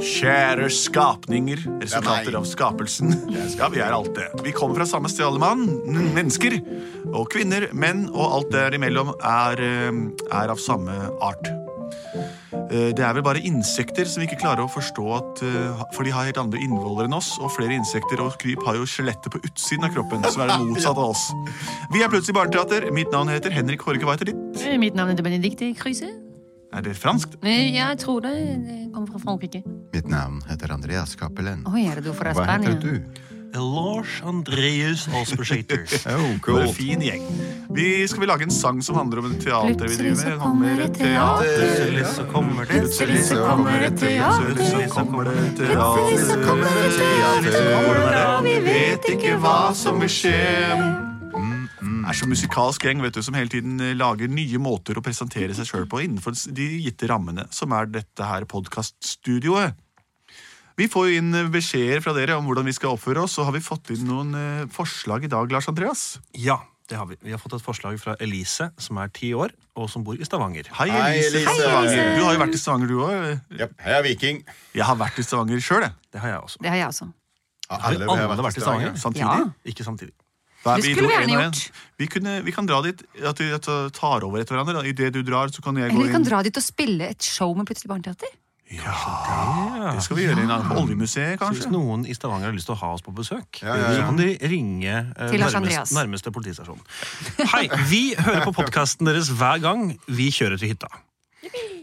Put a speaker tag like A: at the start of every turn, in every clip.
A: Kjære skapninger,
B: Det
A: resultater
B: er meg.
A: av skapelsen. Ja, vi er alt det. Vi kommer fra samme sted, alle mann. N- Mennesker. Og kvinner, menn og alt derimellom er, eh, er av samme art. Eh, Det er vel bare insekter som vi ikke klarer å forstå at eh, For de har helt andre innvoller enn oss, og flere insekter og kryp har jo skjelettet på utsiden av kroppen, som er det motsatte av oss. Vi er plutselig Barneteater. Mitt navn heter Henrik Horge. Hva heter ditt?
C: Eh, Mitt navn er Benedicte Kruse.
A: Er det franskt?
C: Eh, Jeg tror det. Det kommer fra Frankrike.
B: Mitt navn heter Andreas Cappelen.
C: Oi, er det du fra
B: Hva
C: Spania?
B: heter du?
D: Lars Andreas Aspershater.
B: Oh,
A: Det er en fin gjeng. Vi skal vi lage en sang som handler om teater vi driver med?
C: Plutselig så kommer et
D: Plutselig så kommer det
C: Plutselig så kommer det teater.
A: Plutselig så kommer det
C: Plutselig så kommer det
B: teater.
A: og vi vet ikke hva som vil skje. Mm, er så musikalsk gjeng vet du, som hele tiden eh, lager nye måter å presentere seg sjøl på innenfor de gitte rammene, som er dette her podkaststudioet. Vi får jo inn eh, beskjeder fra dere om hvordan vi skal oppføre oss, og har vi fått inn noen eh, forslag i dag, Lars Andreas?
D: Ja, det har vi. Vi har fått et forslag fra Elise, som er ti år, og som bor i Stavanger.
A: Hei,
B: Hei,
A: Elise. fra
B: Elise.
A: Stavanger. Du har jo vært i Stavanger, du òg.
B: Japp, jeg er viking.
A: Jeg har vært i Stavanger sjøl, jeg.
D: Det har jeg også.
C: Det har jeg også.
B: Ja,
D: Har vi alle vært i Stavanger?
A: Samtidig.
D: Ikke samtidig.
A: Da er
C: Det
A: vi to,
C: skulle vi gjerne
A: en og en.
C: gjort.
A: Vi, kunne, vi kan dra dit, at vi at vi tar over etter hverandre. da. I det du drar, så kan jeg gå
C: Eller vi kan
A: inn.
C: dra dit og spille et show med Plutselig barneteater.
D: Ja.
A: Det skal vi gjøre inn på Oljemuseet,
D: Så hvis
A: kanskje.
D: noen i Stavanger har lyst til å ha oss på besøk,
B: Ja, ja, ja.
D: så kan de ringe eh,
C: Til Lars Andreas.
D: nærmest, nærmeste politistasjon. Hei, vi hører på podkasten deres hver gang vi kjører til hytta.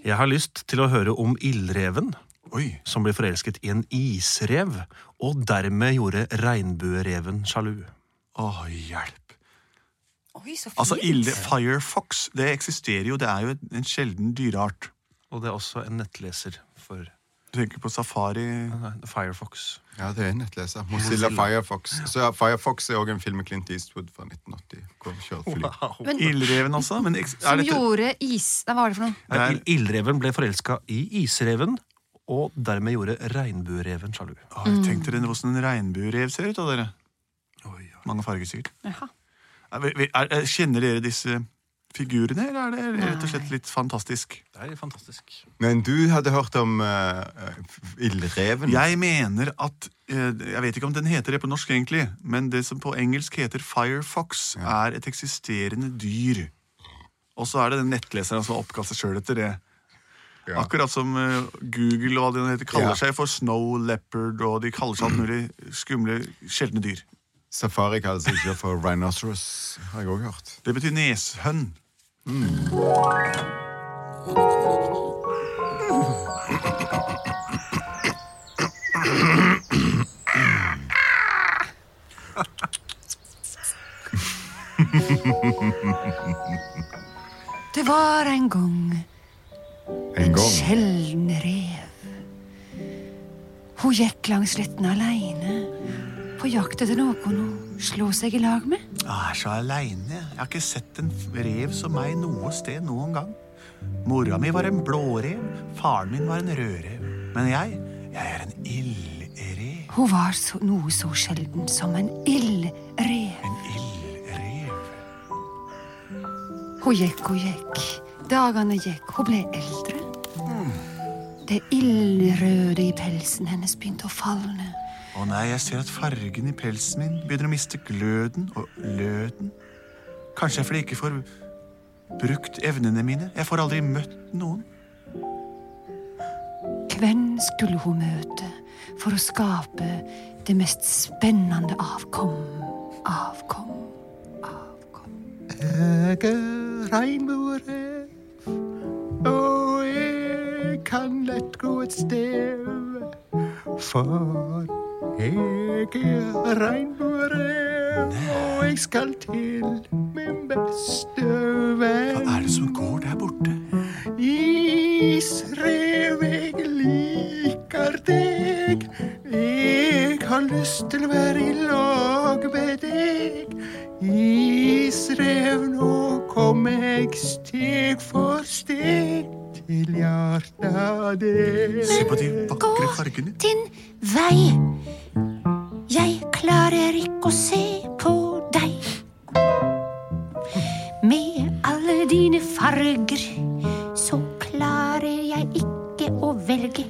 D: Jeg har lyst til å høre om ildreven
A: Oi.
D: som ble forelsket i en isrev, og dermed gjorde regnbuereven sjalu.
A: Å, hjelp.
C: Oi, så fint.
A: Altså, ilde, Firefox det eksisterer jo, det er jo et- en sjelden dyreart.
D: Og det er også en nettleser for
A: Du tenker på safari
D: nei, Firefox.
B: Ja, det er en nettleser. Mozilla Firefox. Så ja, Firefox er òg en film med Clint Eastwood fra 1980. Hvor han kjører fly.
C: Men,
A: Ildreven også? Men eks- er
C: som
A: dette
C: gjorde is... Nei, hva var det for noe?
A: Det er-
D: Il- Ildreven ble forelska i isreven, og dermed gjorde regnbuereven sjalu.
A: Å, jeg
C: Mm.
A: tenkte dere hvordan en regnbuerev ser ut, da, dere? Mange farger, sikkert.
C: Jaha.
A: Er, vi- vi- er, er, kjenner dere disse figurene, eller er det rett og slett litt fantastisk?
D: Det er fantastisk.
B: Men du hadde hørt om eh, eh, Ildreven?
A: Jeg mener at eh, Jeg vet ikke om den heter det på norsk, egentlig, men det som på engelsk heter Firefox, er et eksisterende dyr. Og så er det den nettleseren som har oppkalt seg sjøl etter det.
B: Ja.
A: Akkurat som eh, Google og hva de heter, kaller
B: Ja.
A: seg for Snow Leopard, og de kaller seg alt mulig skumle, sjeldne dyr.
B: Safari kaller seg ikke for rhinoceros, har jeg òg hørt.
A: Det betyr neshønn.
C: Det var en gang
B: En
C: en
B: gang.
C: sjelden rev. Hun gikk langs sletten aleine på jakt etter noen å slå seg i lag med.
A: Jeg er så aleine. Jeg har ikke sett en rev som meg noe sted noen gang. Mora mi var en blårev, faren min var en rødrev. Men jeg, jeg er en ildrev.
C: Hun var så, noe så sjelden som en ildrev.
A: En ildrev.
C: Hun gikk og gikk. Dagene gikk. Hun ble eldre.
A: Hmm.
C: Det ildrøde i pelsen hennes begynte å falne.
A: Å nei, jeg ser at fargen i pelsen min begynner å miste gløden og løden. Kanskje jeg fordi jeg ikke får brukt evnene mine. Jeg får aldri møtt noen.
C: Hvem skulle hun møte for å skape det mest spennende avkom? Avkom, avkom.
B: Jeg er regnbuerev, og jeg kan lett gå et sted. For jeg er regnbuerev, og jeg skal til min beste venn.
A: Hva er det som går der borte?
B: Isrev jeg liker
A: har lyst til å være i lag med deg. Isrev, nå kommer jeg steg for steg til hjertet av deg. Se på de
C: Gå
A: vakre fargene.
C: din vei. Jeg klarer ikke å se på deg. Med alle dine farger så klarer jeg ikke å velge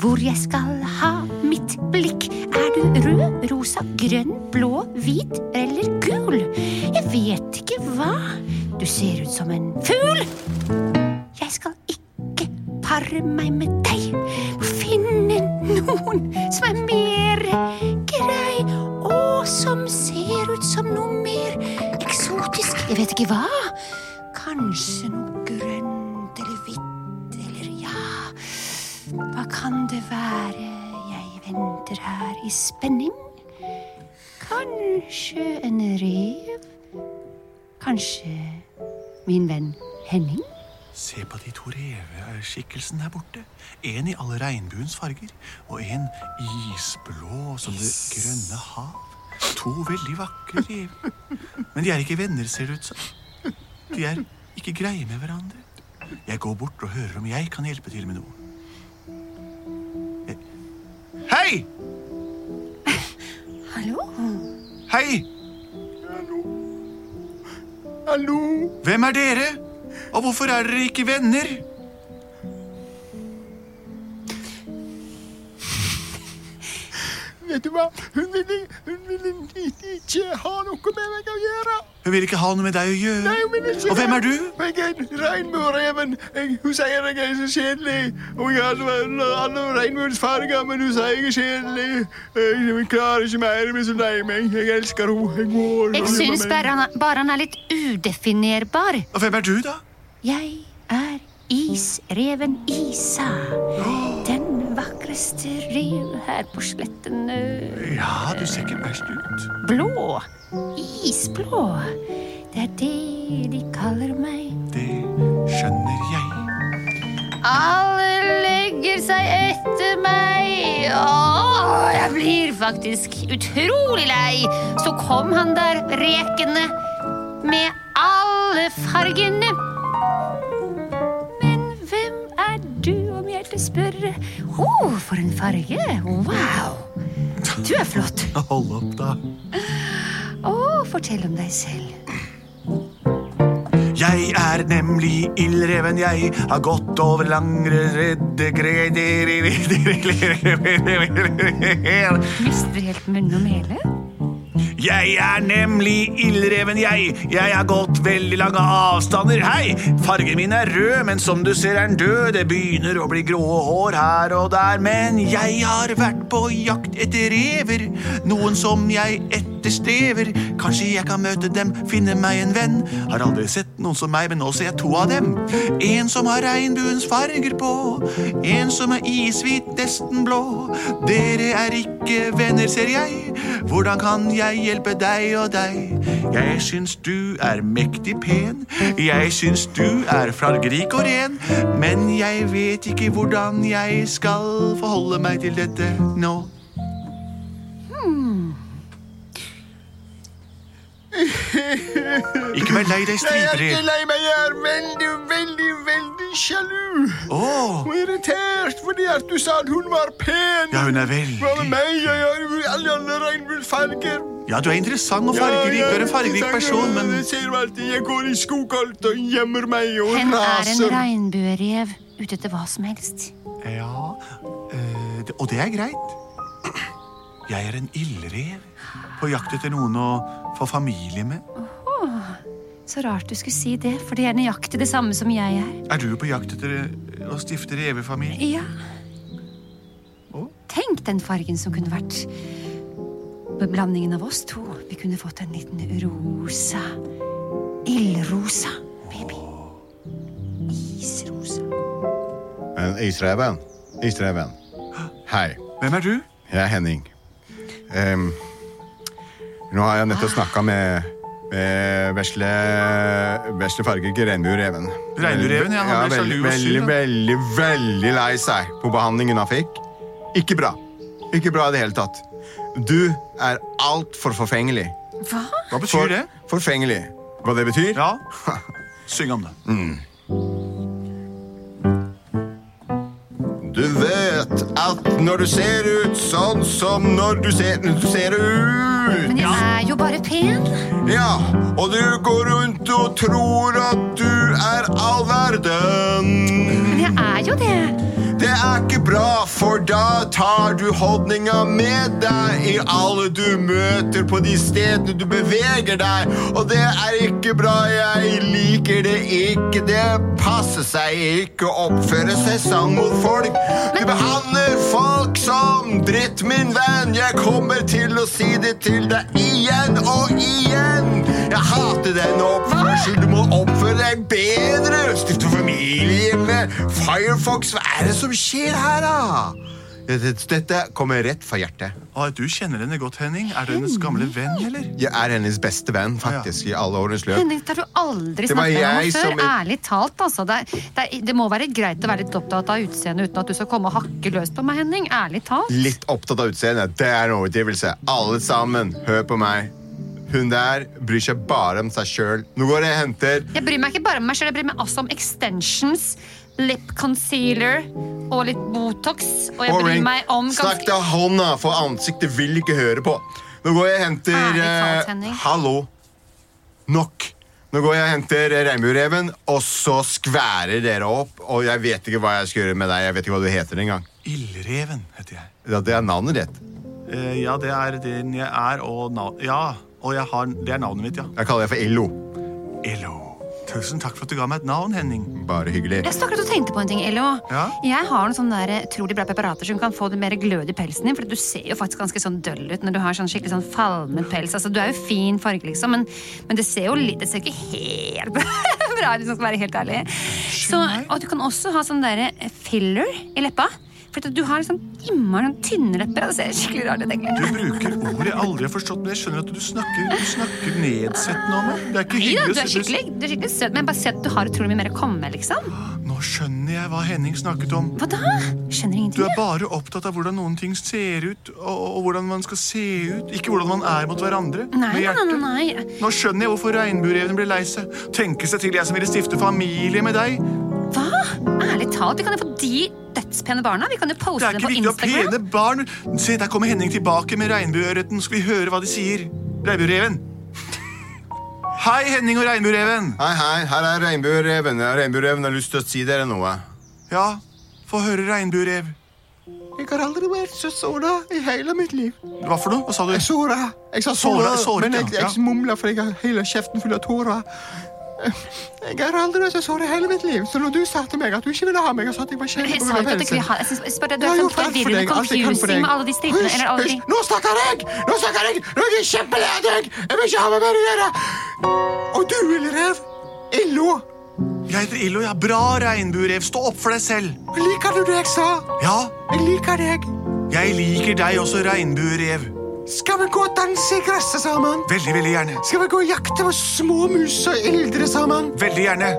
C: hvor jeg skal ha mitt blikk. Er du rød, rosa, grønn, blå, hvit eller gul? Jeg vet ikke hva. Du ser ut som en fugl. Jeg skal ikke pare meg med deg. Må finne noen som er mer grei, og som ser ut som noe mer eksotisk. Jeg vet ikke hva. Kanskje noe grønt eller hvitt eller ja Hva kan det være? Jeg venter her i spenning. Kanskje en rev? Kanskje min venn Henning?
A: Se på de to reveskikkelsene her borte. En i alle regnbuens farger, og en isblå som det grønne hav. To veldig vakre rever. Men de er ikke venner, ser det ut som. De er ikke greie med hverandre. Jeg går bort og hører om jeg kan hjelpe til med noe. Eh, Hei!
C: Hallo?
A: Hei!
B: Hallo!
A: Hvem er dere? Og hvorfor er dere ikke venner?
B: Vet du hva? Hun ville, hun ville ikke ha noe med meg å gjøre.
A: Hun vil ikke ha noe med deg å gjøre.
B: Nei, hun ville ikke
A: Og hvem
B: det.
A: er du?
B: Jeg er regnbuereven. Jeg- Hun sier jeg er så kjedelig. Og jeg har alle- alle regnbuens farger, men hun sier jeg er kjedelig. Jeg jeg klarer ikke mer, jeg blir så lei meg. Jeg elsker henne. Jeg går.
C: Jeg syns bare han, er- bare han er litt udefinerbar.
A: Og hvem er du, da?
C: Jeg er isreven Isa. Den vakreste rev her på slettene.
A: Ja, du ser ikke verst ut.
C: Blå. Isblå. Det er det de kaller meg.
A: Det skjønner jeg.
C: Alle legger seg etter meg. Åh, jeg blir faktisk utrolig lei. Så kom han der rekende med alle fargene. Men hvem er du, om jeg til å spørre? Å, for en farge. Wow. Du er flott.
A: Hold opp, da.
C: Å, fortell om deg selv.
A: Jeg er nemlig ildreven, jeg har gått over langre redde greder
C: Mister helt munn og mæle.
A: Jeg er nemlig ildreven, jeg. Jeg har gått veldig lange avstander. Hei! Fargen min er rød, men som du ser er den død. Det begynner å bli grå hår her og der. Men jeg har vært på jakt etter rever. Noen som jeg etterstrever. Kanskje jeg kan møte dem, finne meg en venn. Har aldri sett noen som meg, men nå ser jeg to av dem. En som har regnbuens farger på. En som er ishvit, nesten blå. Dere er ikke venner, ser jeg. Hvordan kan jeg hjelpe deg og deg? Jeg syns du er mektig pen. Jeg syns du er fargerik og ren. Men jeg vet ikke hvordan jeg skal forholde meg til dette nå.
B: Hmm.
A: Ikke vær lei deg,
B: Jeg er ikke
A: striperev.
B: lei meg. Jeg er veldig, veldig, veldig sjalu.
A: Åh,
B: Og irritert fordi at du sa at hun var pen.
A: ja, hun er
B: Hva med
A: veldig
B: meg? Jeg har jo alle andre regnbuens farger.
A: Ja, du er interessant og fargerik. Du er en fargerik person, men
B: Jeg ser jo alltid, jeg går i skogholt og gjemmer meg og
C: Hen er en
B: raser.
C: regnbuerev ute etter hva som helst.
A: Ja, eh, det- og det er greit. Jeg er en ildrev på jakt etter noen å få familie med.
C: Så rart du skulle si det, for det er nøyaktig det samme som jeg er.
A: Er du på jakt etter eh, å stifte revefamilie?
C: Ja.
A: Å?
C: Tenk den fargen som kunne vært blandingen av oss to. Vi kunne fått en liten rosa. Ildrosa baby. Isrosa.
E: Men
A: Eh,
E: Isreven, Isreven. Hei,
A: Hvem er du?
E: jeg er Henning. Ehm, nå har jeg
A: Ah.
E: nettopp snakka med, med vesle, vesle fargede regnbuereven.
A: Regnbuereven, ja, han ble
E: veldig,
A: sjalu og sur,
E: veldig,
A: han.
E: veldig, veldig lei seg på behandlingen han fikk. Ikke bra. Ikke bra i det hele tatt. Du er altfor forfengelig.
C: Hva?
A: Hva betyr det?
E: Forfengelig. Hva det betyr?
A: Ja, syng om det.
E: Du vet at når du ser ut sånn som når du ser, du ser ut
C: Men jeg er jo bare pen.
E: Ja, og du går rundt og tror at du er all verden.
C: Men jeg er jo det.
E: Det er ikke bra, for da tar du holdninga med deg i alle du møter på de stedene du beveger deg. Og det er ikke bra, jeg liker det ikke. Det passer seg ikke å oppføre seg sånn mot folk. Du behandler folk som dritt, min venn. Jeg kommer til å si det til deg igjen og igjen. Jeg hater den oppførselen. Du må oppføre deg bedre. Stifte familie med Firefox. Hva er det som skjer her, da? Dette- Dette kommer rett fra hjertet.
A: Ah, du kjenner henne godt, Henning. Er du hennes gamle venn, eller?
E: Jeg er hennes beste venn faktisk i alle årenes løp.
C: Henrik, det har du aldri
E: Det var
C: snakket om
E: jeg
C: før.
E: som-
C: Ærlig talt, altså. Det, er, det, er, det må være greit å være litt opptatt av utseendet uten at du skal komme og hakke løs på meg, Henning. Ærlig talt.
E: Litt opptatt av utseendet. Det er en overdrivelse. Alle sammen, hør på meg. Hun der bryr seg bare om seg sjøl. Nå går jeg og henter
C: Jeg bryr meg ikke bare om meg selv, jeg bryr meg også om extensions, lip concealer og litt Botox. Og jeg bryr
E: Boring.
C: meg om
E: Snakk
C: ganske
E: til hånda, for ansiktet vil ikke høre på. Nå går jeg og henter
C: Ærlig talt,
E: eh,
C: Ah, Henning.
E: Hallo. Nok. Nå går jeg og henter eh, regnbuereven, og så skværer dere opp. Og jeg vet ikke hva jeg skal gjøre med deg. Jeg vet ikke hva du heter engang.
A: Ildreven heter jeg.
E: Ja, det er navnet ditt.
A: Eh, ja, det er den jeg er, og nav... Ja, og jeg har... det er navnet mitt, ja.
E: Jeg kaller deg for Illo.
A: Elo. Tusen takk for at du ga meg et navn, Henning.
E: Bare hyggelig.
C: Jeg snakker at du tenkte på en ting, Ello.
A: Ja?
C: Jeg har noen sånne der, eh, utrolig bra preparater som kan få det mer glød i pelsen din. For du ser jo faktisk ganske sånn døll ut når du har sånn skikkelig sånn falmet pels. Altså, du er jo fin farge, liksom, men, men det ser jo litt Det ser ikke helt bra ut, hvis man skal være helt ærlig. Så, og du kan også ha sånn derre filler i leppa. For at du har sånn immer sånn tynne lepper. og Det ser skikkelig rart ut,
A: Du
C: egentlig.
A: bruker ord jeg aldri har forstått, men jeg skjønner at du snakker, du snakker nedsettende om meg. Det er ikke
C: Nei da,
A: hyggelig
C: du er
A: se-
C: skikkelig, du er skikkelig søt, men bare se at du har utrolig mye mer å komme med, liksom.
A: Nå skjønner jeg hva Henning snakket om.
C: Hva da? Skjønner
A: Du
C: ingenting.
A: er bare opptatt av hvordan noen ting ser ut, og, og hvordan man skal se ut. Ikke hvordan man er mot hverandre. med
C: Nei, nei,
A: hjertet.
C: nei, nei, nei.
A: Nå skjønner jeg hvorfor regnbuereven blir lei seg. Tenke seg til jeg som ville stifte familie med deg.
C: Hva? Ærlig talt, vi kan jo få de dødspene barna. Vi kan jo
A: Det
C: poste
A: er
C: dem
A: ikke
C: på
A: viktig å ha
C: Instagram.
A: pene barn. Se, der kommer Henning tilbake med regnbueørreten. Skal vi høre hva de sier? Regnbuereven. Hei, Henning og regnbuereven.
E: Hei, hei, her er regnbuereven. Ja, Regnbuereven har lyst til å si dere noe.
A: Ja, få høre regnbuerev.
B: Jeg har aldri vært så såra i hele mitt liv.
A: Hva for noe? Hva sa du?
B: Såra. Jeg sa
A: Såra,
B: såra,
A: såret,
B: men jeg,
A: ja.
B: jeg mumla, for jeg har hele kjeften full av tårer. Jeg har aldri vært så såra i hele mitt liv, så når du sa til meg at du ikke ville ha meg og sa at jeg var kjent
C: Jeg
B: på
C: sa jo
B: grunn
C: ikke
B: av
C: at du ikke vil ha Jeg
B: pelsen
C: synes bare Du
B: Jeg
C: er
B: har
C: sånn
B: gjort alt for
C: forvirrende
B: deg, alt jeg kan for
C: confusing
B: deg.
C: med alle de stripene.
B: Hysj,
C: Eller alle de
B: hysj, Nå snakker jeg! Nå snakker jeg! Nå er jeg kjempelei av deg! Jeg vil ikke ha meg mer å gjøre! Og du, lille rev, Illo,
A: Jeg heter Illo. Ja, bra, regnbuerev. Stå opp for deg selv.
B: liker du det jeg sa?
A: Ja,
B: Jeg liker deg.
A: jeg liker deg også, regnbuerev.
B: Skal vi gå og danse i gresset sammen?
A: Veldig, veldig gjerne.
B: Skal vi gå og jakte på små mus og ildre sammen?
A: Veldig gjerne.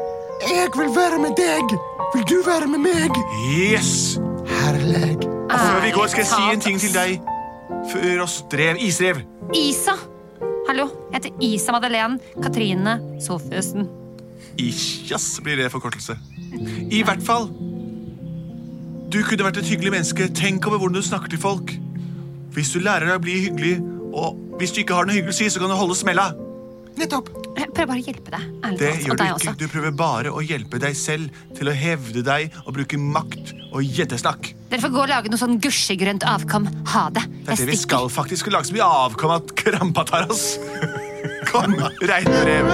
B: Jeg vil være med deg. Vil du være med meg?
A: Yes!
B: Herlig.
A: Og før vi går,
C: Ærlig
A: skal jeg si
C: talt,
A: en ting til
C: ass.
A: deg. Før oss drev isrev.
C: Isa. Hallo. Jeg heter Isa Madeleine Katrine Sofiussen.
A: Isjas blir det forkortelse. I hvert fall. Du kunne vært et hyggelig menneske. Tenk over hvordan du snakker til folk. Hvis du lærer deg å bli hyggelig, og hvis du ikke har noe hyggelig å si, så kan du holde smella.
B: Nettopp.
C: Jeg prøver bare å hjelpe deg. Ærlig
A: Det gjør
C: talt. Og
A: du
C: deg
A: ikke.
C: også.
A: Du prøver bare å hjelpe deg selv til å hevde deg og bruke makt og gjeddesnakk.
C: Dere får gå og lage noe sånn gusjegrønt avkom. Ha
A: Det
C: det.
A: er det vi
C: Jeg stikker.
A: skal faktisk. Vi lager så mye avkom at krampa tar oss. Kom, regnrev.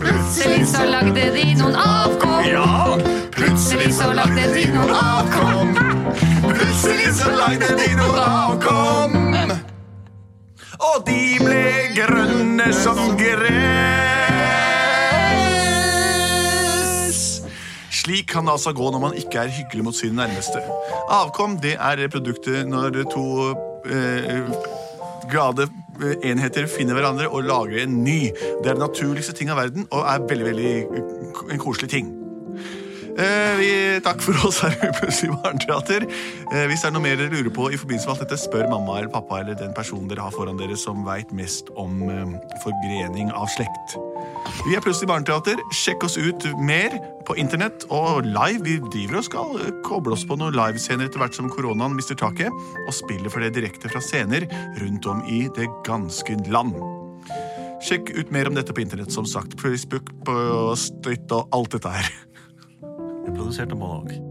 C: Plutselig så lagde de noen avkom.
A: Ja,
C: Plutselig så lagde de noen
A: avkom. Plutselig så lagde de noen avkom. Og de ble grønne som gress. Slik kan det altså gå når man ikke er hyggelig mot sine nærmeste. Avkom det er produktet når to eh, glade eh, enheter finner hverandre og lager en eh, ny. Det er den naturligste ting av verden og er veldig, veldig k- en koselig ting. Eh, vi, takk for oss her i Plutselig barneteater. Eh, hvis det er noe mer dere lurer på, i forbindelse med alt dette, spør mamma eller pappa eller den personen dere har foran dere som veit mest om eh, forgrening av slekt. Vi er Plutselig barneteater. Sjekk oss ut mer på internett og live. Vi driver og skal eh, koble oss på noen livescener etter hvert som koronaen mister taket, og spiller for det direkte fra scener rundt om i det ganske land. Sjekk ut mer om dette på internett, som sagt. Facebook, på Støyt og alt dette her.
D: Produsert av Målvåg.